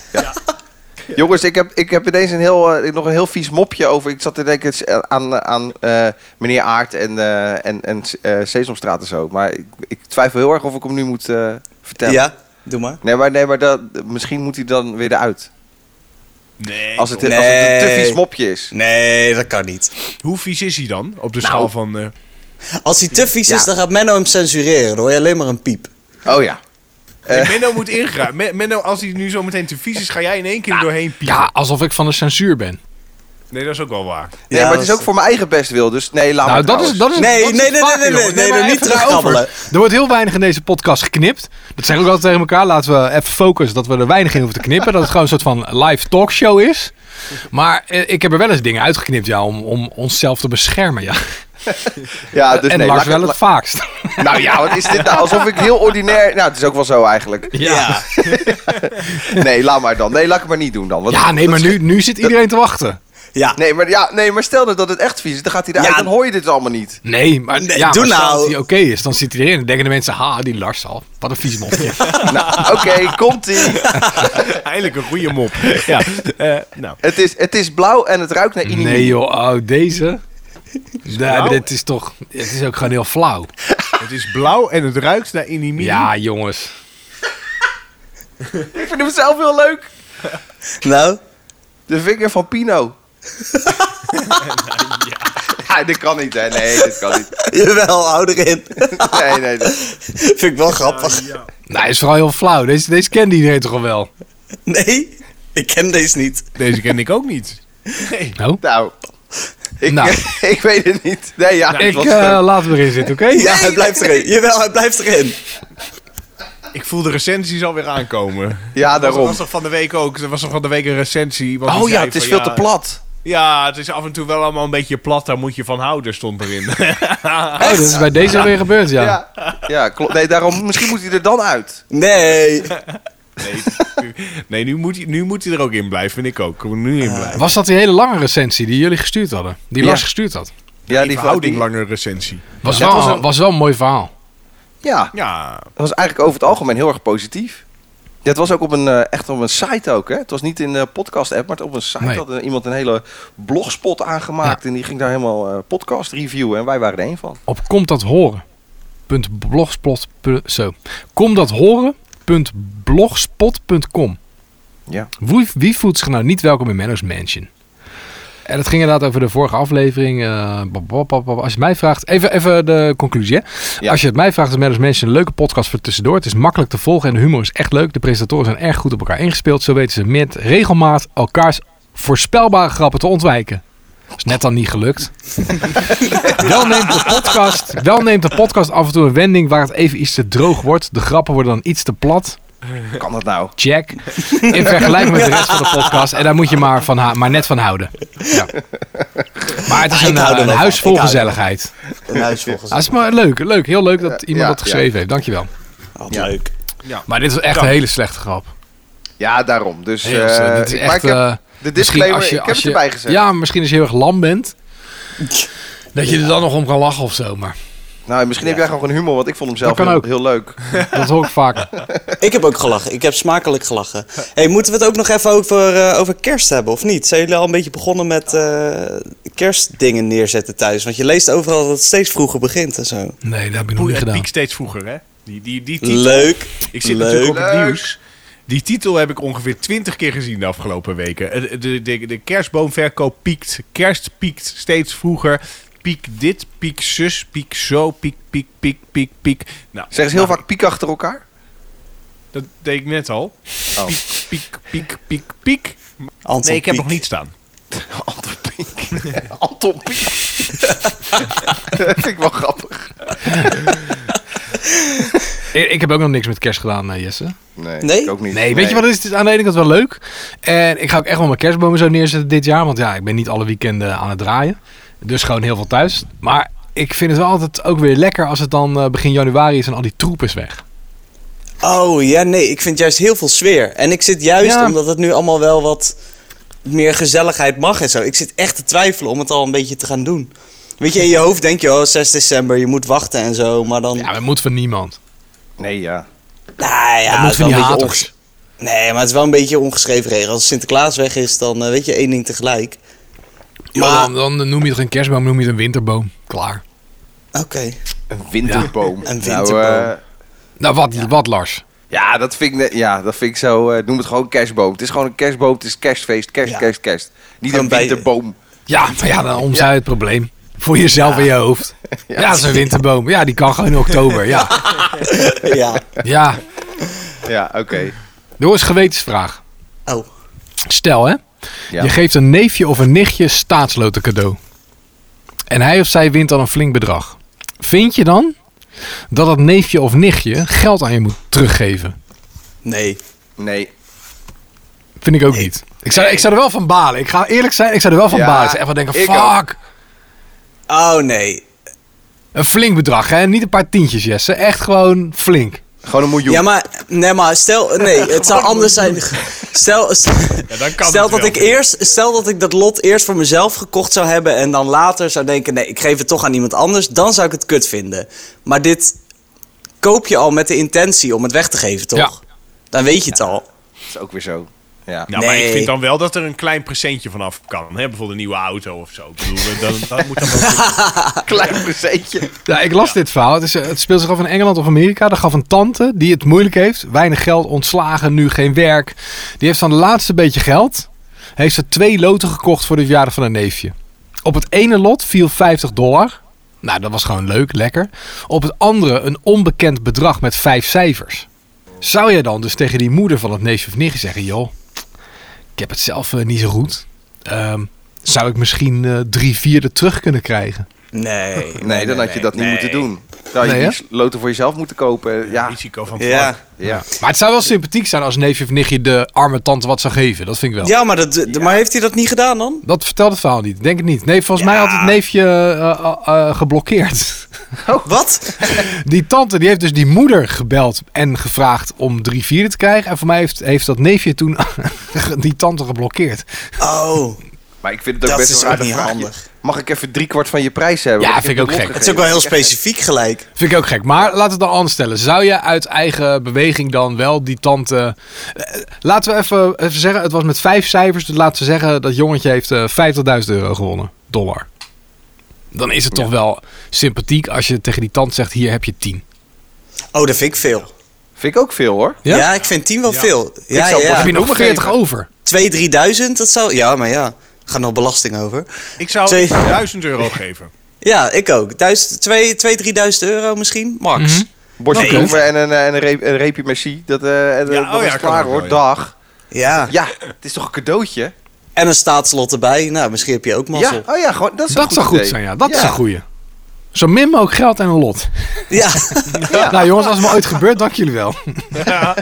Jongens, ik heb, ik heb ineens een heel, eh, nog een heel vies mopje over. Ik zat te denken eh, aan, eh, aan eh, meneer Aart en, eh, en, en eh, Sesamstraat en zo. Maar ik, ik twijfel heel erg of ik hem nu moet eh, vertellen.
ja, doe maar.
Nee, maar, nee, maar dat, misschien moet hij dan weer eruit.
Nee.
Als het,
joh.
als het een te
Nee.
vies mopje is.
Nee, dat kan niet.
Hoe vies is hij dan? Op de
Nou.
schaal van. eh,
Als hij te vies
Ja.
is, dan gaat Menno hem censureren. Dan hoor je alleen maar een piep.
Oh ja. Eh.
Nee, Menno moet ingrijpen. Men- Menno, als hij nu zo meteen te vies is, ga jij in één keer
Nou.
er doorheen piepen.
Ja, alsof ik van de censuur ben.
Nee, dat is ook wel waar.
Nee,
Ja,
maar het
dat
is ook
is-
voor mijn eigen best wil. Dus nee, laat
Nou,
maar
dat is, dat is
Ah, Nee,
dat is
nee,
het
nee,
vaker,
nee, nee,
jongen.
nee,
maar
nee,
even
niet
daarover.
terugkabbelen.
Er wordt heel weinig in deze podcast geknipt. Dat zeggen we ook altijd tegen elkaar. Laten we even focussen dat we er weinig in hoeven te knippen. Dat het gewoon een soort van live talkshow is. Maar eh, ik heb er wel eens dingen uitgeknipt, ja, om, om onszelf te beschermen, ja.
Dus
Ja, dus
en
nee,
Lars
laat-
wel het vaakst.
la- Nou ja, wat is dit nou? Alsof ik heel ordinair... Nou, het is ook wel zo eigenlijk.
Ja.
Nee, laat maar dan. Nee, laat ik het maar niet doen dan. Want
Ja, nee,
dat
maar
is-
nu, nu zit iedereen te wachten.
Ja.
Nee, maar, ja, nee, maar stel nou dat het echt vies is. Dan gaat hij eruit,
Ja.
dan hoor je dit allemaal niet.
Nee, maar,
Nee,
ja,
doe
maar stel
nou.
dat die oké is, dan zit hij erin. Dan denken de mensen, ha, die Lars al. Wat een vies mopje.
Nou, oké, komt-ie.
Eigenlijk een goede mop. Ja. eh, nou.
Het is, het is blauw en het ruikt naar inimi.
Nee joh, oh, deze. Ja,
flauw.
dit is toch, het is ook gewoon heel flauw.
Het is blauw en het ruikt naar inimie.
Ja, jongens.
Ik vind hem zelf heel leuk.
Nou,
De vinger van Pino. ja. dit kan niet, hè? Nee, dit kan niet.
jawel, hou erin.
Nee, nee. dit-
Vind ik wel grappig.
Nee, hij is vooral heel flauw. Deze, deze kende iedereen toch al wel?
Nee, ik ken deze niet.
Deze ken ik ook niet. Nee.
Nou,
Nou, ik,
Nou.
ik weet het niet. Nee, ja, het
ik
was
eh
leuk.
laat hem erin zitten, oké?
Ja, hij blijft erin. Jawel, hij blijft erin.
Ik voel de recensies alweer aankomen.
Ja,
Dat was,
daarom.
was toch van de week ook. Er was toch van de week een recensie. iemand die
Oh ja,
zei
het is
van,
veel te plat.
Ja, het is af en toe wel allemaal een beetje plat. Daar moet je van houden, stond erin.
Oh, dat is bij deze weer gebeurd, ja.
Ja, ja klopt. Nee, daarom, misschien moet hij er dan uit.
Nee.
Nee, nu- nee nu, moet hij, nu moet hij er ook in blijven, vind ik ook. Kom er nu
Eh,
in blijven.
Was dat die hele lange recensie die jullie gestuurd hadden? Die
Ja.
Lars gestuurd had?
Ja,
die
die
verhouding
lang.
lange recensie.
Was,
Ja,
wel,
het
was,
was
een...
een-
mooi verhaal.
Ja,
Ja,
dat was eigenlijk over het algemeen heel erg positief. Ja, het was ook op een, eh, echt op een site ook, hè? Het was niet in de podcast-app, maar het op een site
Nee.
had eh, iemand een hele blogspot aangemaakt. En die ging daar helemaal eh, podcast reviewen. En wij waren er één van.
Op komt dat horen. Punt blogspot. pu- Zo. Komt dat horen. Punt blogspot.com.
Ja.
Wie, wie voelt zich nou niet welkom in Menno's Mansion? En dat ging inderdaad over de vorige aflevering. eh, bab, bab, bab, bab. als je mij vraagt, even, even de conclusie. Hè?
Ja.
Als je het mij vraagt, is Menno's Mansion een leuke podcast voor tussendoor. Het is makkelijk te volgen en de humor is echt leuk. De presentatoren zijn erg goed op elkaar ingespeeld. Zo weten ze met regelmaat elkaars voorspelbare grappen te ontwijken. Is net dan niet gelukt. Wel neemt, de podcast, wel neemt de podcast af en toe een wending waar het even iets te droog wordt. De grappen worden dan iets te plat.
Kan dat nou?
Check. In vergelijking met de rest van de podcast. En daar moet je maar, van ha- maar net van houden. Ja. Maar het is
Ik
een,
hou er
eh,
wel
een
van.
huis vol
Ik hou er wel
gezelligheid.
Een huis volgens
Dat is maar leuk, leuk. Heel leuk dat
ja,
iemand dat geschreven heeft. Dankjewel.
Ah, Leuk.
Maar dit is echt een hele slechte grap.
Ja, daarom. Dus,
Heel
eh,
slecht. Dit is
ik- maar
echt,
ik heb
eh,
de
misschien
disclaimer,
als je-
ik heb
als
het
je-
erbij gezet.
Ja, misschien als je heel erg lam bent. Dat je er dan nog om kan lachen of zo. Maar
Nou, misschien heb jij gewoon humor, want ik vond hem
Dat
zelf
kan
heel,
ook.
heel leuk.
dat hoor ik vaak.
Ik heb ook gelachen. Ik heb smakelijk gelachen. hey, moeten we het ook nog even over, eh, over kerst hebben, of niet? Zijn jullie al een beetje begonnen met eh, kerstdingen neerzetten thuis? Want je leest overal dat het steeds vroeger begint en zo.
Nee, dat heb ik nog
Poe-
niet
het
gedaan.
piekt steeds vroeger, hè? Die, die, die titel.
Leuk.
Ik zit
Leuk.
natuurlijk op het
Leuk.
nieuws. Die titel heb ik ongeveer twintig keer gezien de afgelopen weken. Eh, De, de, de kerstboomverkoop piekt. Kerst piekt steeds vroeger. Piek dit, piek zus, piek zo, piek, piek, piek, piek, piek. Nou,
Zeggen ze heel
nou,
vaak piek achter elkaar?
Dat deed ik net al.
Oh.
Piek, piek, piek, piek, piek.
Anton
Nee, ik heb
Pieck.
nog niet staan.
Anton Piek. Anton Piek. dat vind ik wel grappig.
Ik, ik heb ook nog niks met kerst gedaan, eh, Jesse.
Nee,
Nee?
ik ook niet.
Nee, weet je wat het is? Het is aan de ene kant wel leuk. En ik ga ook echt wel mijn kerstbomen zo neerzetten dit jaar. Want ja, ik ben niet alle weekenden aan het draaien. Dus gewoon heel veel thuis. Maar ik vind het wel altijd ook weer lekker als het dan eh, begin januari is en al die troep is weg.
Oh ja, nee, ik vind juist heel veel sfeer. En ik zit juist
Ja.
omdat het nu allemaal wel wat meer gezelligheid mag en zo. Ik zit echt te twijfelen om het al een beetje te gaan doen. Weet je, in je hoofd denk je, oh, 6 december, je moet wachten en zo. Maar dan.
Ja, dat moet van niemand.
Nee, ja.
nou ja,
dat
het
moet
is wel
van die
een beetje
haters.
onges- Nee, maar het is wel een beetje ongeschreven regel. Als Sinterklaas weg is, dan eh, weet je één ding tegelijk.
Ja,
Maar.
dan, dan noem je het geen kerstboom, noem je het een winterboom. Klaar.
Oké.
Een winterboom.
Ja, een
Nou,
winterboom.
eh,
Nou, wat, wat Lars?
ja, dat vind ik, net- ja, dat vind ik zo... eh, noem het gewoon kerstboom. Het is gewoon een kerstboom. Het is kerstfeest. Kerst,
Ja.
kerst, kerst. Niet
Gewoon
een
bij-
winterboom.
Ja, maar ja, dan omzij het probleem. Voor jezelf in je hoofd. Ja, dat is een winterboom. Ja, die kan gewoon in oktober. Ja,
Ja.
ja.
Ja, oké.
Door eens gewetensvraag.
Oh.
Stel hè,
Ja.
je geeft een neefje of een nichtje staatsloten cadeau. En hij of zij wint dan een flink bedrag. Vind je dan dat dat neefje of nichtje geld aan je moet teruggeven?
Nee.
Nee.
Vind ik ook niet. Ik zou, ik zou er wel van balen. Ik ga eerlijk zijn, ik zou er wel van
Ja,
balen. Ik zou echt wel denken,
ik
fuck.
Oh nee.
Een flink bedrag hè, niet een paar tientjes Jesse. Echt gewoon flink.
Gewoon een miljoen.
Ja, maar, nee, maar stel, nee, het zou anders zijn. Stel, stel,
dan kan
stel
het
dat
wel.
ik eerst, stel dat ik dat lot eerst voor mezelf gekocht zou hebben en dan later zou denken, nee, ik geef het toch aan iemand anders, dan zou ik het kut vinden. Maar dit koop je al met de intentie om het weg te geven, toch?
Ja.
Dan weet je het al.
Dat is ook weer zo. Ja.
Nou, maar ik
Nee.
vind dan wel dat er een klein presentje vanaf kan. Hè? Bijvoorbeeld een nieuwe auto of zo. Ik bedoel, dat, dat moet dan wel kunnen.
Klein presentje.
Ja, ik las dit verhaal. Het, is, eh, het speelt zich af in Engeland of Amerika. Daar gaf een tante die het moeilijk heeft. Weinig geld, ontslagen, nu geen werk. Die heeft dan het laatste beetje geld. Heeft ze twee loten gekocht voor de verjaardag van haar neefje. Op het ene lot viel 50 dollar. Nou, dat was gewoon leuk, lekker. Op het andere een onbekend bedrag met vijf cijfers. Zou jij dan dus tegen die moeder van het neefje of nichtje zeggen... joh, ik heb het zelf eh, niet zo goed. Ehm, zou ik misschien eh, drie vierde terug kunnen krijgen?
Nee.
Nee, dan had je dat niet moeten doen. Terwijl
Nee,
je
hè?
die sloten voor jezelf moeten kopen. Ja,
Risico van
Ja.
ja.
Maar het zou wel sympathiek zijn als neefje of nichtje de arme tante wat zou geven. Dat vind ik wel.
ja, maar, dat, d- maar heeft hij dat niet gedaan dan?
Dat vertelt het verhaal niet. Denk het niet. Nee, volgens mij had het neefje eh, eh, eh, geblokkeerd.
Oh. Wat?
Die tante die heeft dus die moeder gebeld en gevraagd om drie vierde te krijgen. En voor mij heeft, heeft dat neefje toen die tante geblokkeerd.
Oh,
Maar ik vind het ook
Dat
best
is
wel
ook
raar,
niet
dan vraag je,
handig.
Mag ik even driekwart van je prijs hebben?
Ja,
Want
vind
heb
ik
je
ook
hem
gek.
het is ook wel heel specifiek gelijk.
Vind ik ook gek. Maar laten we het dan anders stellen. Zou je uit eigen beweging dan wel die tante... Eh, Laten we even, even zeggen, het was met vijf cijfers. Dus laten we zeggen dat jongetje heeft eh, 50.000 euro gewonnen. Dollar. Dan is het toch wel sympathiek als je tegen die tante zegt... hier heb je 10.
Oh, dat vind ik veel.
Vind ik ook veel hoor.
Ja?
Ja, ik vind 10 wel veel. Ja,
zou pas
ja.
heb je nog
nog
40
geven.
over.
2, 3000, dat zou. Ja, maar ja. Gaat nog belasting over.
Ik zou
Twee.
1000 euro geven.
Ja, ik ook. 1000, 2, 2 3000 euro misschien, max.
Mhm. Bordje
Oké.
koffie en een, eh, en een, reep, een reepje merci. Dat, eh en, eh,
Ja,
dat
oh
is
ja, kan
klaar
ook
hoor.
wel, ja.
Dag.
Ja.
Ja, het is toch een cadeautje?
En een staatslot erbij. Nou, misschien heb je ook mazzel.
Ja, oh ja, gewoon, dat is
Dat zou goed zijn, ja. Dat is een goeie. Zo min mogelijk geld en een lot.
Ja.
Nou jongens, als het me ooit gebeurt, dank jullie wel.
Ja.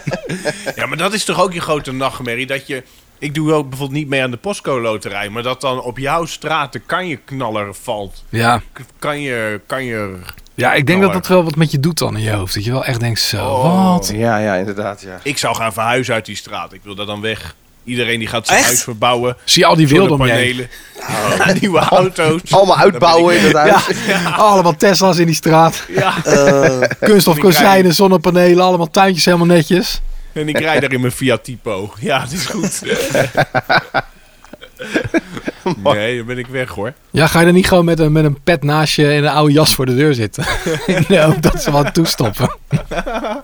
ja, maar dat is toch ook je grote nachtmerrie. Dat je, ik doe ook bijvoorbeeld niet mee aan de postco-loterij. Maar dat dan op jouw straat de kanjeknaller valt.
Ja,
K- Kan je, kan je...
ja ik denk dat dat wel wat met je doet dan in je hoofd. Dat je wel echt denkt, zo, wat?
Ja, ja, inderdaad, ja.
Ik zou gaan verhuizen uit die straat. Ik wil daar dan weg. Iedereen die gaat zijn
Echt?
huis verbouwen.
Zie je al die wilde om je heen?
panelen. Nieuwe auto's.
Allemaal uitbouwen in dat huis.
Allemaal Tesla's in die straat.
Ja.
Eh,
Die
Kunststof
krijgen-
kozijnen, zonnepanelen, allemaal tuintjes helemaal netjes.
En ik rijd daar in mijn Fiat Tipo. Ja, dat is goed. nee, dan ben ik weg hoor.
Ja, ga je dan niet gewoon met een, met een pet naast je en een oude jas voor de deur zitten? In de hoop dat ze wat toestoppen.
Nou,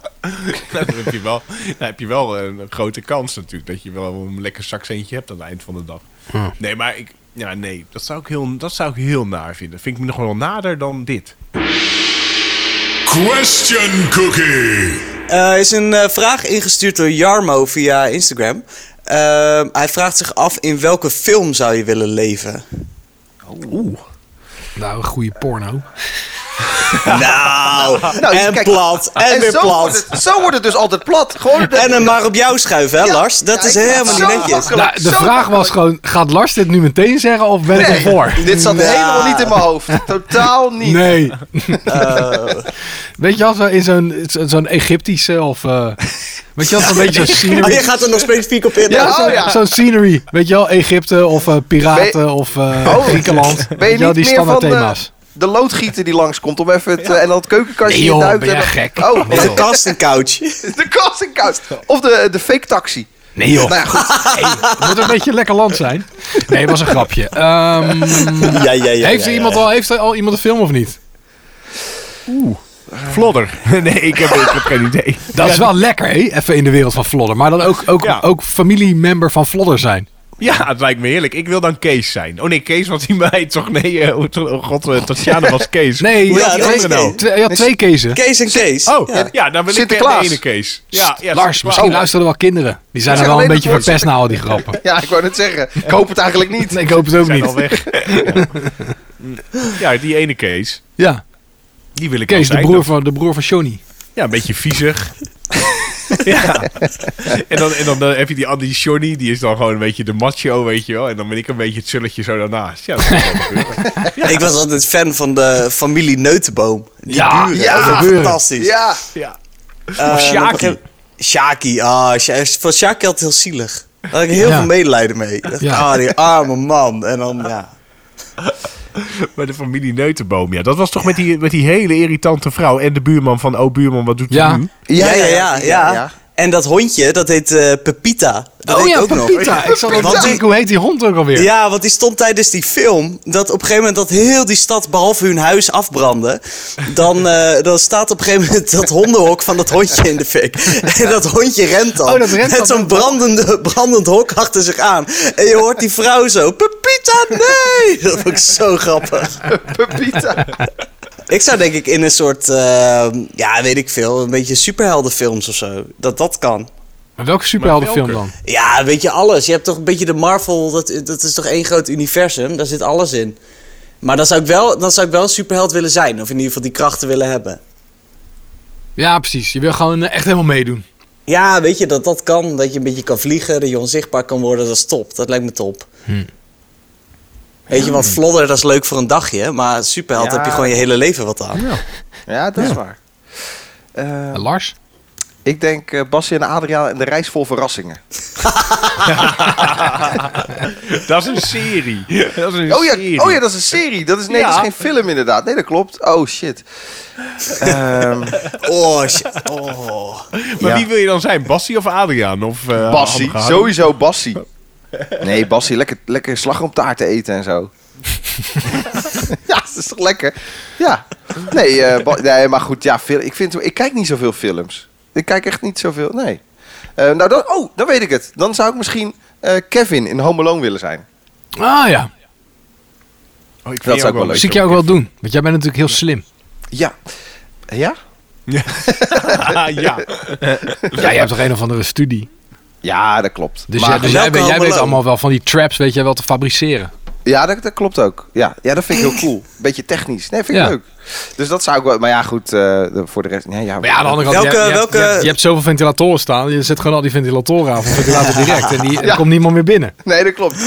dan, heb je wel, dan heb je wel een grote kans natuurlijk. Dat je wel een lekker zakcentje hebt aan het eind van de dag. Nee, maar ik... Ja, nee. Dat zou ik heel, dat zou ik heel naar vinden. Vind ik me nog wel nader dan dit.
Question Cookie.
Eh, is een eh, vraag ingestuurd door Jarmo via Instagram. Eh, hij vraagt zich af in welke film zou je willen leven?
Nou, een goede porno.
Nou,
Nou,
en
kijk,
plat, en, weer
zo
plat.
Wordt het, zo wordt het dus altijd plat. Gewoon de-
En hem maar op jou schuiven, hè
Ja,
Lars? Dat
ja,
is
ik-
helemaal
zo
niet netjes.
makkelijk.
Nou, de
Zo
vraag was
makkelijk.
gewoon, gaat Lars dit nu meteen zeggen of ben ik
Nee,
ervoor?
Dit zat
Ja.
helemaal niet in mijn hoofd. Totaal niet.
Nee. Weet je, als we in zo'n zo- zo'n Egyptische of... eh, weet je, als een beetje zo'n
Oh, je
scenery...
gaat er nog specifiek op in.
Ja,
Ja,
Zo'n
oh ja.
zo'n scenery, weet je wel, Egypte of eh, piraten of eh,
Oh.
Griekenland.
Ben
Weet
je
je wel,
niet
die
meer van
standaard
de,
thema's.
de loodgieter die langskomt om even het, eh, en dan het keukenkastje
Nee, joh,
in duikt
ben
en
jij
dan-
gek?
Oh,
Of een castingcouch.
de kast en kast. Of de, de fake taxi.
Nee joh.
Nou ja, goed.
Het moet een beetje lekker land zijn. Nee, het was een grapje. Ehm,
Ja, ja, ja.
heeft,
ja,
er
ja.
iemand Al, heeft er al iemand een film of niet?
Flodder. nee, ik heb, ik heb geen idee.
Dat is wel lekker, hé? Even in de wereld van Vlodder. Maar dan ook, ook,
Ja.
ook familiemember van Vlodder zijn.
Ja, het lijkt me heerlijk. Ik wil dan Kees zijn. Oh nee, Kees was die meid toch? Nee, eh, oh, to- oh god, eh, Tatjana was Kees.
Nee,
Hoe heet
je had
die
twee-
andere nou?
twee, je had twee kezen.
Kees en Kees.
Oh, ja, dan wil ik
Sinterklaas.
de ene Kees. Ja, ja,
Lars, misschien
Sinterklaas.
luisteren er wel kinderen. Die zijn
Ik
er
zeg
wel een
alleen
beetje
dat woord
verpest na al die grappen.
ja, ik wou net zeggen. Ik hoop het eigenlijk niet.
Nee, ik hoop het ook
zijn al
niet.
weg. ja. Ja, die ene Kees.
Ja,
Die wil ik wel
Kees, de
zijn.
broer
Dat-
van, de broer van Johnny.
Ja, een beetje viezig. ja. En dan, en dan eh, heb je die Andy Johnny, die is dan gewoon een beetje de macho, weet je wel. En dan ben ik een beetje het zulletje zo daarnaast. Ja, dat kan wel gebeuren.
Ik was altijd fan van de familie Neutenboom. Die
Ja,
buren,
ja,
dat was
buren.
fantastisch.
Ja,
ja.
Eh,
Of Sjaki.
op een gegeven- Sjaki, ah, Sja- van Sjaki had het heel zielig. Daar had ik heel
Ja.
veel medelijden mee. Dat-
Ja.
Ah, die arme man. En dan, ja.
Bij de familie Neutenboom, ja. Dat was toch met, die, met die hele irritante vrouw en de buurman van... Oh, buurman, wat doet u
Ja.
nu?
Ja, ja, ja. ja. En dat hondje, dat heet eh, Pepita. Dat
oh
weet ik
ja,
ook nog.
Pepita. Ik zal
Want
dat
die-
denken, hoe heet die hond ook alweer?
Ja, want die stond tijdens die film dat op een gegeven moment dat heel die stad behalve hun huis afbrandde. Dan, eh, dan staat op een gegeven moment dat hondenhok van dat hondje in de fik. En dat hondje rent dan.
Oh, dat rent
met
dan.
zo'n brandende, brandend hok achter zich aan. En je hoort die vrouw zo, Pepita, nee! Dat vond ik zo grappig.
Pepita.
Ik zou denk ik in een soort, eh, ja weet ik veel, een beetje superheldenfilms of zo. Dat dat kan.
Maar welke superheldenfilm
Maar
dan?
welke?
Ja, weet je alles. Je hebt toch een beetje de Marvel, dat, dat is toch één groot universum. Daar zit alles in. Maar dan zou, ik wel, dan zou ik wel een superheld willen zijn. Of in ieder geval die krachten willen hebben.
Ja, precies. Je wil gewoon eh, echt helemaal meedoen.
Ja, weet je dat dat kan? Dat je een beetje kan vliegen, dat je onzichtbaar kan worden, dat is top. Dat lijkt me top. Weet je, want vlodder, dat is leuk voor een dagje, maar superheld
Ja.
heb je gewoon je hele leven wat aan.
Ja, dat is waar. Eh,
Eh, Lars?
ik denk eh Basje en Adriaan en de reis vol verrassingen.
Dat is een serie. Dat is een
Oh
serie.
ja, oh ja, dat is een serie. Dat is, nee, dat is
Ja.
geen film inderdaad. Nee, dat klopt. Oh shit. Ehm
Oh, shit. Oh.
Maar
ja.
wie wil je dan zijn? Bassie of Adriaan? Of, eh,
Bassie,
Hamgehakt?
sowieso Bassie. Nee, Bassie, lekker, lekker slagroomtaart te eten en zo. ja, dat is toch lekker? Ja. Nee, eh, Ba- nee maar goed, ja, fil- ik, vind, ik kijk niet zoveel films. Ik kijk echt niet zoveel, nee. Eh, nou, dan, oh, dan weet ik het. Dan zou ik misschien eh, Kevin in Home Alone willen zijn.
Ah ja,
Oh, ik vind
Dat
jou
zou ik wel leuk
zie ik jou ook wel doen. Want jij bent natuurlijk heel slim.
Ja. Ja?
ja.
Ja, jij hebt toch een of andere studie.
Ja, dat klopt.
Dus,
Maar-
jij, dus jij
welke
weet- jij weet
Home
allemaal wel van die traps, weet jij wel te fabriceren.
Ja, dat, dat klopt ook. Ja. ja, dat vind ik heel cool. Beetje technisch. Nee, vind ik
Ja.
leuk. Dus dat zou ik wel... Maar ja, goed, eh, voor de rest... Nee, ja,
Maar ja, aan de andere kant,
Welke-
je, hebt- je hebt-
welke-
je hebt- je hebt zoveel ventilatoren staan. Je zet gewoon al die ventilatoren aan voor ventilator direct. En die, er komt niemand meer binnen.
Nee, dat klopt.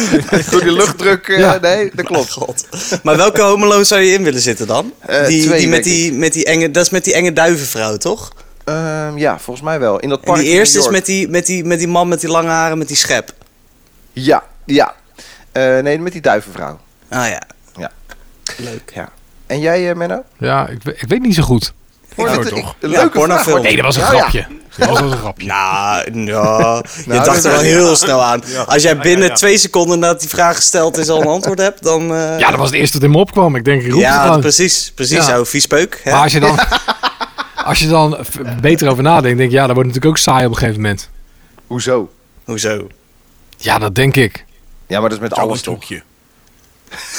Door die luchtdruk, eh,
Ja.
nee, dat klopt.
God. Maar welke homoloog zou je in willen zitten dan?
Eh,
die,
twee,
die, met
denk
die, met die enge, dat is met die enge duivenvrouw, toch?
Ehm, ja, volgens mij wel. In dat
En
park
die
in
eerste
New
is
York.
met die, met, die, met die man met die lange haren, met die schep.
Ja, ja. Eh, nee, met die duivenvrouw.
Ah ja.
Ja.
Leuk.
Ja. En jij, eh, Menno?
Ja, ik, we- ik weet niet zo goed.
Porno,
toch? Ja,
Leuke vraag.
pornofilm.
hoor.
Nee, dat was een
Ja, ja.
grapje. Dat was wel een grapje.
Nou, ja, je
dat
dacht
is-
er wel heel snel aan. Als jij binnen
ja, ja.
twee seconden nadat die vraag gesteld is al een antwoord hebt, dan... eh,
Ja, dat was het eerste dat in me opkwam. Ik denk, ik roep
ja,
het gewoon.
precies. Precies,
Ja.
zo vies peuk. Hè?
Maar als je dan, als je dan v- beter over nadenkt, denk je, ja, dat wordt natuurlijk ook saai op een gegeven moment.
Hoezo?
Hoezo?
Ja, dat denk ik.
Ja, maar dat is met
Alles
alles toch?
stokje.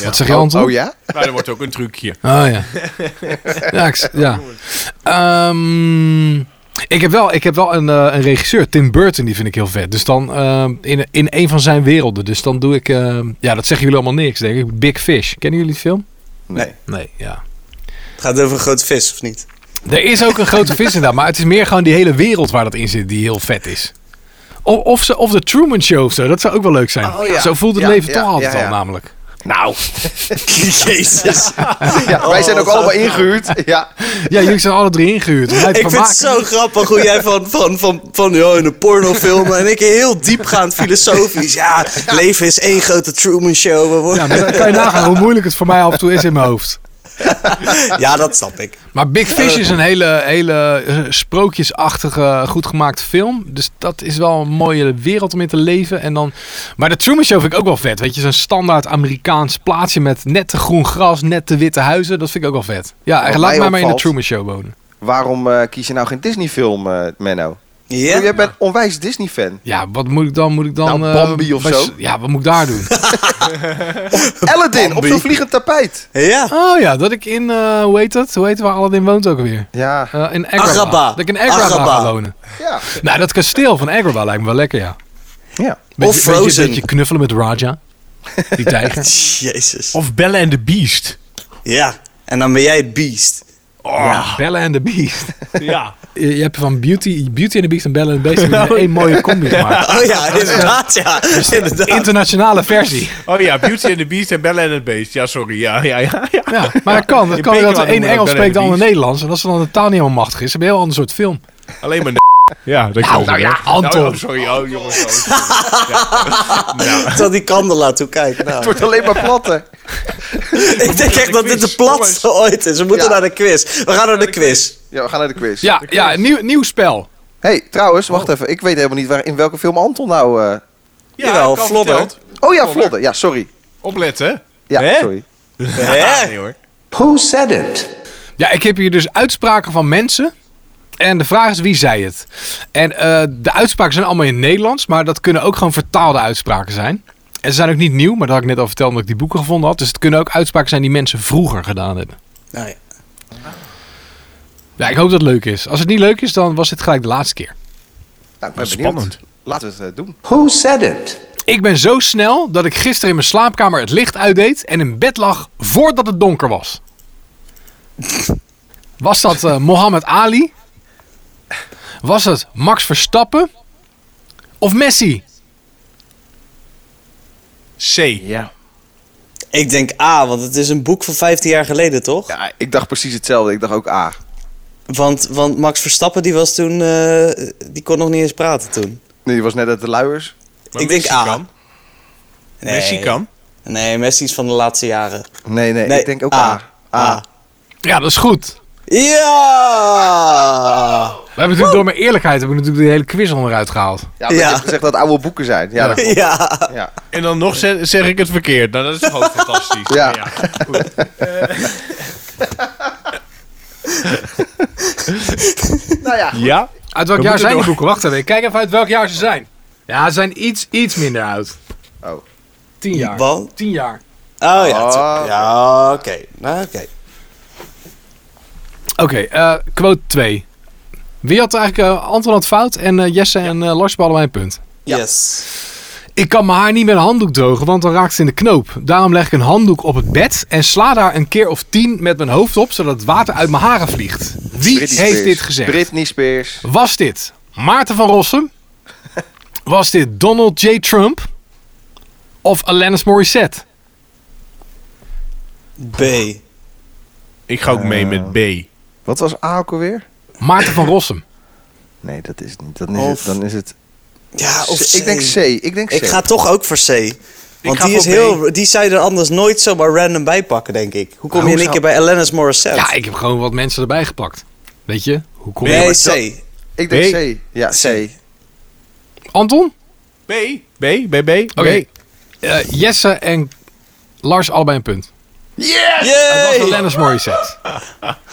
Wat zeg je,
Oh,
Anton?
oh ja?
Maar er wordt ook een trucje.
Oh ja. ja, ik, s- ja. Ehm, ik heb wel, ik heb wel een, eh, een regisseur, Tim Burton, die vind ik heel vet. Dus dan ehm, in, in een van zijn werelden. Dus dan doe ik, ehm, ja, dat zeggen jullie allemaal niks, denk ik. Big Fish. Kennen jullie die film?
Nee.
Nee, ja.
Het gaat over een grote vis, of niet?
Er is ook een grote vis inderdaad, maar het is meer gewoon die hele wereld waar dat in zit die heel vet is. Of, of, ze, of de Truman Show of zo, dat zou ook wel leuk zijn.
Oh, ja.
Zo voelt het
Ja,
leven
ja,
toch altijd
ja, ja.
al namelijk.
Nou.
Jezus. Oh,
Ja, Oh. wij zijn ook allemaal ingehuurd. Ja.
Ja, jullie zijn alle drie ingehuurd. om mij te
Ik vind het
vermaken.
zo grappig hoe jij van, van, van, van ja, in een pornofilm en ik heel diepgaand filosofisch. Ja, leven is één grote Truman Show. we worden-
Ja, maar dan kan je nagaan hoe moeilijk het voor mij af en toe is in mijn hoofd.
Ja, dat snap ik.
Maar Big Fish is een hele, hele eh, sprookjesachtige, eh, goed gemaakte film. Dus dat is wel een mooie wereld om in te leven. En dan, maar de Truman Show vind ik ook wel vet. Weet je, zo'n standaard Amerikaans plaatsje met net te groen gras, net te witte huizen. Dat vind ik ook wel vet. Ja,
Wat
laat
mij
mij maar in de
opvalt-
Truman Show wonen.
Waarom eh, kies je nou geen Disney-film, eh, Menno? Oh,
Ja?
Jij bent onwijs Disney-fan.
Ja, wat moet ik dan? Moet ik dan...
Nou,
eh,
Bambi of
bij-
zo?
Ja, wat moet ik daar doen?
Aladdin, op zo'n vliegend tapijt.
Ja.
oh ja, dat ik in... eh, hoe heet dat? Hoe heet het waar Aladdin woont ook alweer?
Ja.
Eh, in Agrabah.
Agrabah.
Dat ik in Agrabah,
Agrabah.
ga wonen.
Ja.
Nou, dat kasteel van Agrabah lijkt me wel lekker, ja.
Ja.
Beetje,
Of Frozen.
Beetje, beetje knuffelen met Raja. Die tijger.
Jezus.
Of Belle and the Beast.
Ja. En dan ben jij het beest.
Ja, Ah, Bella and the Beast.
Oh, Ja.
Je je hebt van Beauty, Beauty and the Beast en Bella and the Beast heb je in één mooie combi gemaakt.
Oh ja, inderdaad, ja. Inderdaad.
Internationale versie.
Oh ja, Beauty and the Beast en Belle and the Beast. Ja, sorry. Ja, ja, ja. ja.
Ja, maar dat kan. Dat
In
kan dat de
Peking
een
noemen we
Engels
dat
spreekt, de
Bella and the
ander
Beast.
Nederlands. En als ze dan de taal niet helemaal machtig is, hebben we een heel ander soort film.
Alleen maar de Ja, dat kan
nou
wel.
ja, Anton.
Nou, oh, sorry. Oh, jongens. oh, sorry. Nou,
Tot die kandelaar toe kijken.
Het
Nou.
wordt alleen maar platte.
Ik denk echt dat dit de
quiz,
platste ooit is. We moeten
Ja.
naar de quiz. We gaan naar de quiz.
Ja, we gaan naar de quiz.
Ja, ja nieuw, nieuw spel.
hey, trouwens, wacht even. Ik weet helemaal niet waar, in welke film Anton nou... eh,
Ja,
Jawel,
ik had
Flodder.
verteld.
Oh ja, Vlodder. Ja, sorry.
Opletten.
Ja,
Hè?
sorry. Nou,
Ja, nee hoor.
Who said it?
Ja, ik heb hier dus uitspraken van mensen. En de vraag is wie zei het. En eh, de uitspraken zijn allemaal in het Nederlands, maar dat kunnen ook gewoon vertaalde uitspraken zijn. En ze zijn ook niet nieuw, maar dat had ik net al verteld omdat ik die boeken gevonden had. Dus het kunnen ook uitspraken zijn die mensen vroeger gedaan hebben.
Nou ja.
Ja, ik hoop dat het leuk is. Als het niet leuk is, dan was dit gelijk de laatste keer.
Nou, ik ben benieuwd.
Spannend.
Laten we het eh, doen.
Who said it?
Ik ben zo snel dat ik gisteren in mijn slaapkamer het licht uitdeed en in bed lag voordat het donker was. Was dat eh Mohammed Ali, Was het Max Verstappen of Messi?
C.
Ja.
Ik denk A, want het is een boek van 15 jaar geleden, toch?
ja, ik dacht precies hetzelfde. Ik dacht ook A.
Want, want Max Verstappen, die was toen... eh, die kon nog niet eens praten toen.
Nee, die was net uit de luiers.
Maar
ik
Messi
denk A.
Kan. Messi kan.
Nee, Messi is van de laatste jaren.
Nee, nee,
Nee,
ik denk ook
A.
A. A.
Ja, dat is goed.
Ja!
We hebben natuurlijk door mijn eerlijkheid hebben we natuurlijk de hele quiz onderuit gehaald.
Ja, maar je
Ja.
hebt gezegd dat het oude boeken zijn. Ja, dat klopt.
Ja!
Ja.
En dan nog ze- zeg, ik het verkeerd. Nou, dat is gewoon fantastisch.
Ja.
Maar goed. Eh.
Nou ja,
ja?
Uit welk
We
jaar
moeten
zijn die
door.
boeken? Wacht even, ik kijk even uit welk jaar ze zijn. Ja, ze zijn iets, iets minder oud.
Oh.
Tien jaar.
Want-
Tien jaar.
Oh ja,
Ah.
tw- ja oké. Nou, oké.
Oké, eh, quote 2. Wie had eigenlijk... eh, Anton had fout en eh, Jesse en eh, Lars hadden wij een punt.
Yes.
Ik kan mijn haar niet met een handdoek drogen, want dan raakt ze in de knoop. Daarom leg ik een handdoek op het bed en sla daar een keer of tien met mijn hoofd op, zodat het water uit mijn haren vliegt. Wie
Britney
heeft
Spears.
dit gezegd?
Britney Spears.
Was dit Maarten van Rossum? Was dit Donald J. Trump? Of Alanis Morissette?
B.
Ik ga ook mee met B.
Wat was A ook alweer?
Maarten van Rossum.
Nee, dat is het niet. Dan is
Of-
het... Dan is het
Ja, of
Ik denk C. Ik denk C.
Ik ga toch ook voor C. Want
ga
die, is
voor B.
heel, die zou je er anders nooit zomaar random bij pakken, denk ik. Hoe kom
Nou,
je in
hoe
één keer bij Alanis Morissette?
Ja, ik heb gewoon wat mensen erbij gepakt. Weet je? Hoe kom je...
Nee,
maar
C.
dat-
Ik denk
B.
C. Ja, C.
Anton?
B? B? B? B?
Oké. Eh, Jesse en Lars allebei een punt.
Yay!
Alanis Morissette.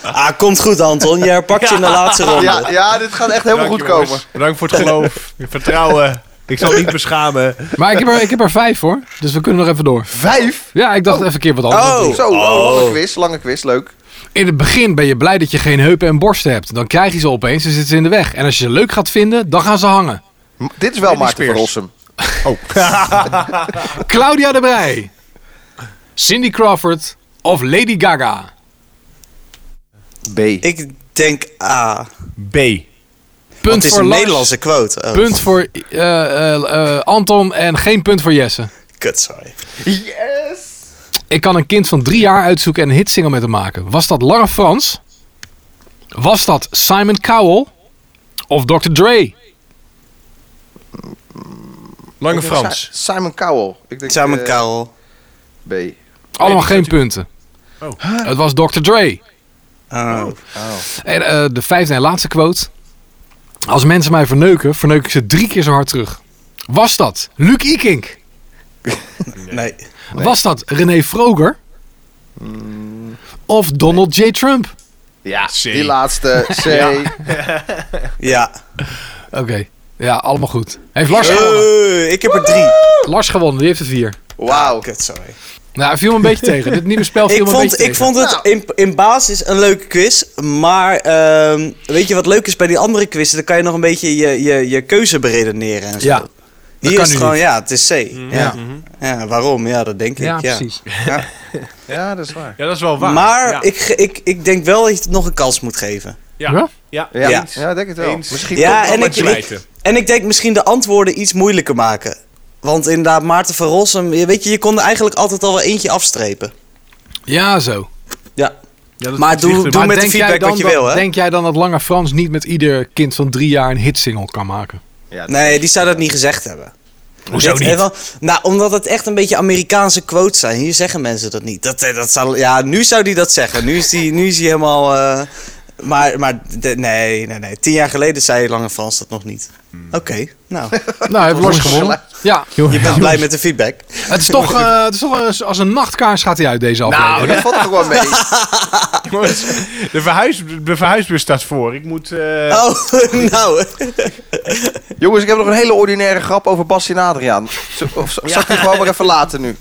Ah, komt goed, Anton. Je herpakt je in de laatste ronde.
Ja, ja, dit gaat echt helemaal goed komen.
Bedankt voor het geloof, je vertrouwen. Ik zal niet beschamen.
Maar ik heb, er, ik heb er vijf hoor, dus we kunnen nog even door.
Vijf?
Ja, ik dacht even een keer wat anders.
Oh.
Zo, oh, lange quiz, lange quiz, leuk.
In het begin ben je blij dat je geen heupen en borsten hebt. Dan krijg je ze opeens en zitten ze in de weg. En als je ze leuk gaat vinden, dan gaan ze hangen.
M- dit is wel Maarten van
Spears.
Rossum.
Oh.
Claudia de Brij. Cindy Crawford of Lady Gaga.
B.
Ik denk A.
B.
Punt
Het is
voor
een
Lars,
Nederlandse quote. Oh,
Punt voor eh, eh, eh, Anton en geen punt voor Jesse.
Kut, sorry.
Yes!
Ik kan een kind van drie jaar uitzoeken en een hitsingle met hem maken. Was dat Lange Frans? Was dat Simon Cowell? Of Dr. Dre?
Lange
Ik denk
Frans.
Si- Simon Cowell. Ik denk,
Samen
eh,
Karel.
B.
Allemaal geen punten.
Oh.
Het was Dr. Dre.
Oh.
En eh, de vijfde en laatste quote. Als mensen mij verneuken, verneuk ik ze drie keer zo hard terug. Was dat Luc Ikink?
Nee.
Was dat René Froger? Of Donald J. Trump?
Ja,
C.
die laatste. C.
Ja.
Oké, ja, allemaal goed. Heeft Lars gewonnen.
Eh, ik heb er drie.
Lars gewonnen, die heeft er vier.
Wauw.
Kut, sorry.
Nou, hij viel me een beetje tegen. Dit nieuwe spel viel
Ik
me een beetje
vond, ik
tegen.
vond het
Nou.
in, in basis een leuke quiz. Maar ehm, weet je wat leuk is bij die andere quizzen? Dan kan je nog een beetje je, je, je keuze beredeneren en zo.
Ja,
Hier
kan
is
nu
het gewoon,
niet.
ja, het is C.
Mhm.
Ja. ja, waarom? Ja, dat denk ik.
ja, precies.
Ja, dat is waar.
Ja, dat is wel waar.
Maar
ja.
ik, ge- ik, ik denk wel dat je het nog een kans moet geven.
Ja.
Ja?
Ja.
Ja,
Ja.
ja. ik denk het wel.
Eens.
Misschien
Ja,
komt
en
dat
ik,
met je
ik-
wijten.
en ik denk misschien de antwoorden iets moeilijker maken. Want inderdaad, Maarten van Rossum, je weet je, je kon er eigenlijk altijd al wel eentje afstrepen.
Ja, zo.
Ja.
dat
maar doe,
ligt
Ah, doe
er-
Maar
met de
denk jij
feedback
dan
wat je
dat-
wil, hè?
Denk jij dan dat Lange Frans niet met ieder kind van drie jaar een hitsingle kan maken?
Ja, dat-
Nee, die zou dat niet gezegd hebben.
Hoezo
Dit-
niet?
eh, wel- nou, omdat het echt een beetje Amerikaanse quotes zijn. Hier zeggen mensen dat niet. Dat, eh, dat zou, ja, nu zou die dat zeggen. Nu is die, nu is die helemaal... eh, maar maar de- nee, nee, nee. Tien jaar geleden zei Lange Frans dat nog niet.
Hmm.
Oké, nou.
Nou, heeft Lars
ons
gewonnen. Ja.
Je bent blij met de feedback.
Het is toch, eh, het is toch een- als een nachtkaars gaat hij uit deze aflevering.
Nou, dat valt er gewoon mee.
Jongens, de, verhuis, de verhuisbus staat voor. Ik moet... eh,
Oh, nou.
Jongens, ik heb nog een hele ordinaire grap over Bas en Adriaan. Z- Of z- zal ik die gewoon maar even laten nu?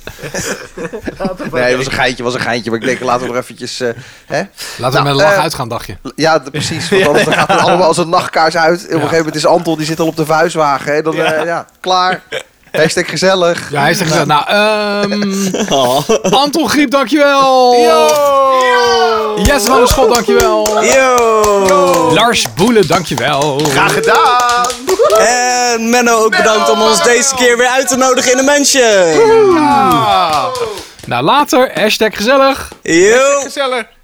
nee, dat was een geintje, was een geintje. Maar ik denk, laten we nog eventjes... eh, hè?
Laten we
Nou,
met een lach
eh,
uitgaan, dacht je.
Ja, d- precies. Want anders dan gaat het allemaal als een nachtkaars uit. Op een gegeven moment is Anton, die zit al op de vuistwagen. Hè? Dan, eh, ja. klaar. Hashtag gezellig.
Ja, hij is er gezet. Nou, ehm,
Oh.
Anton Griep, dankjewel. Jesse van der Schot, dankjewel.
Yo!
Lars Boelen, dankjewel.
Graag gedaan!
En Menno, ook bedankt om ons deze keer weer uit te nodigen in de mansion.
Nou, later. Hashtag gezellig.
Yo!
Gezellig!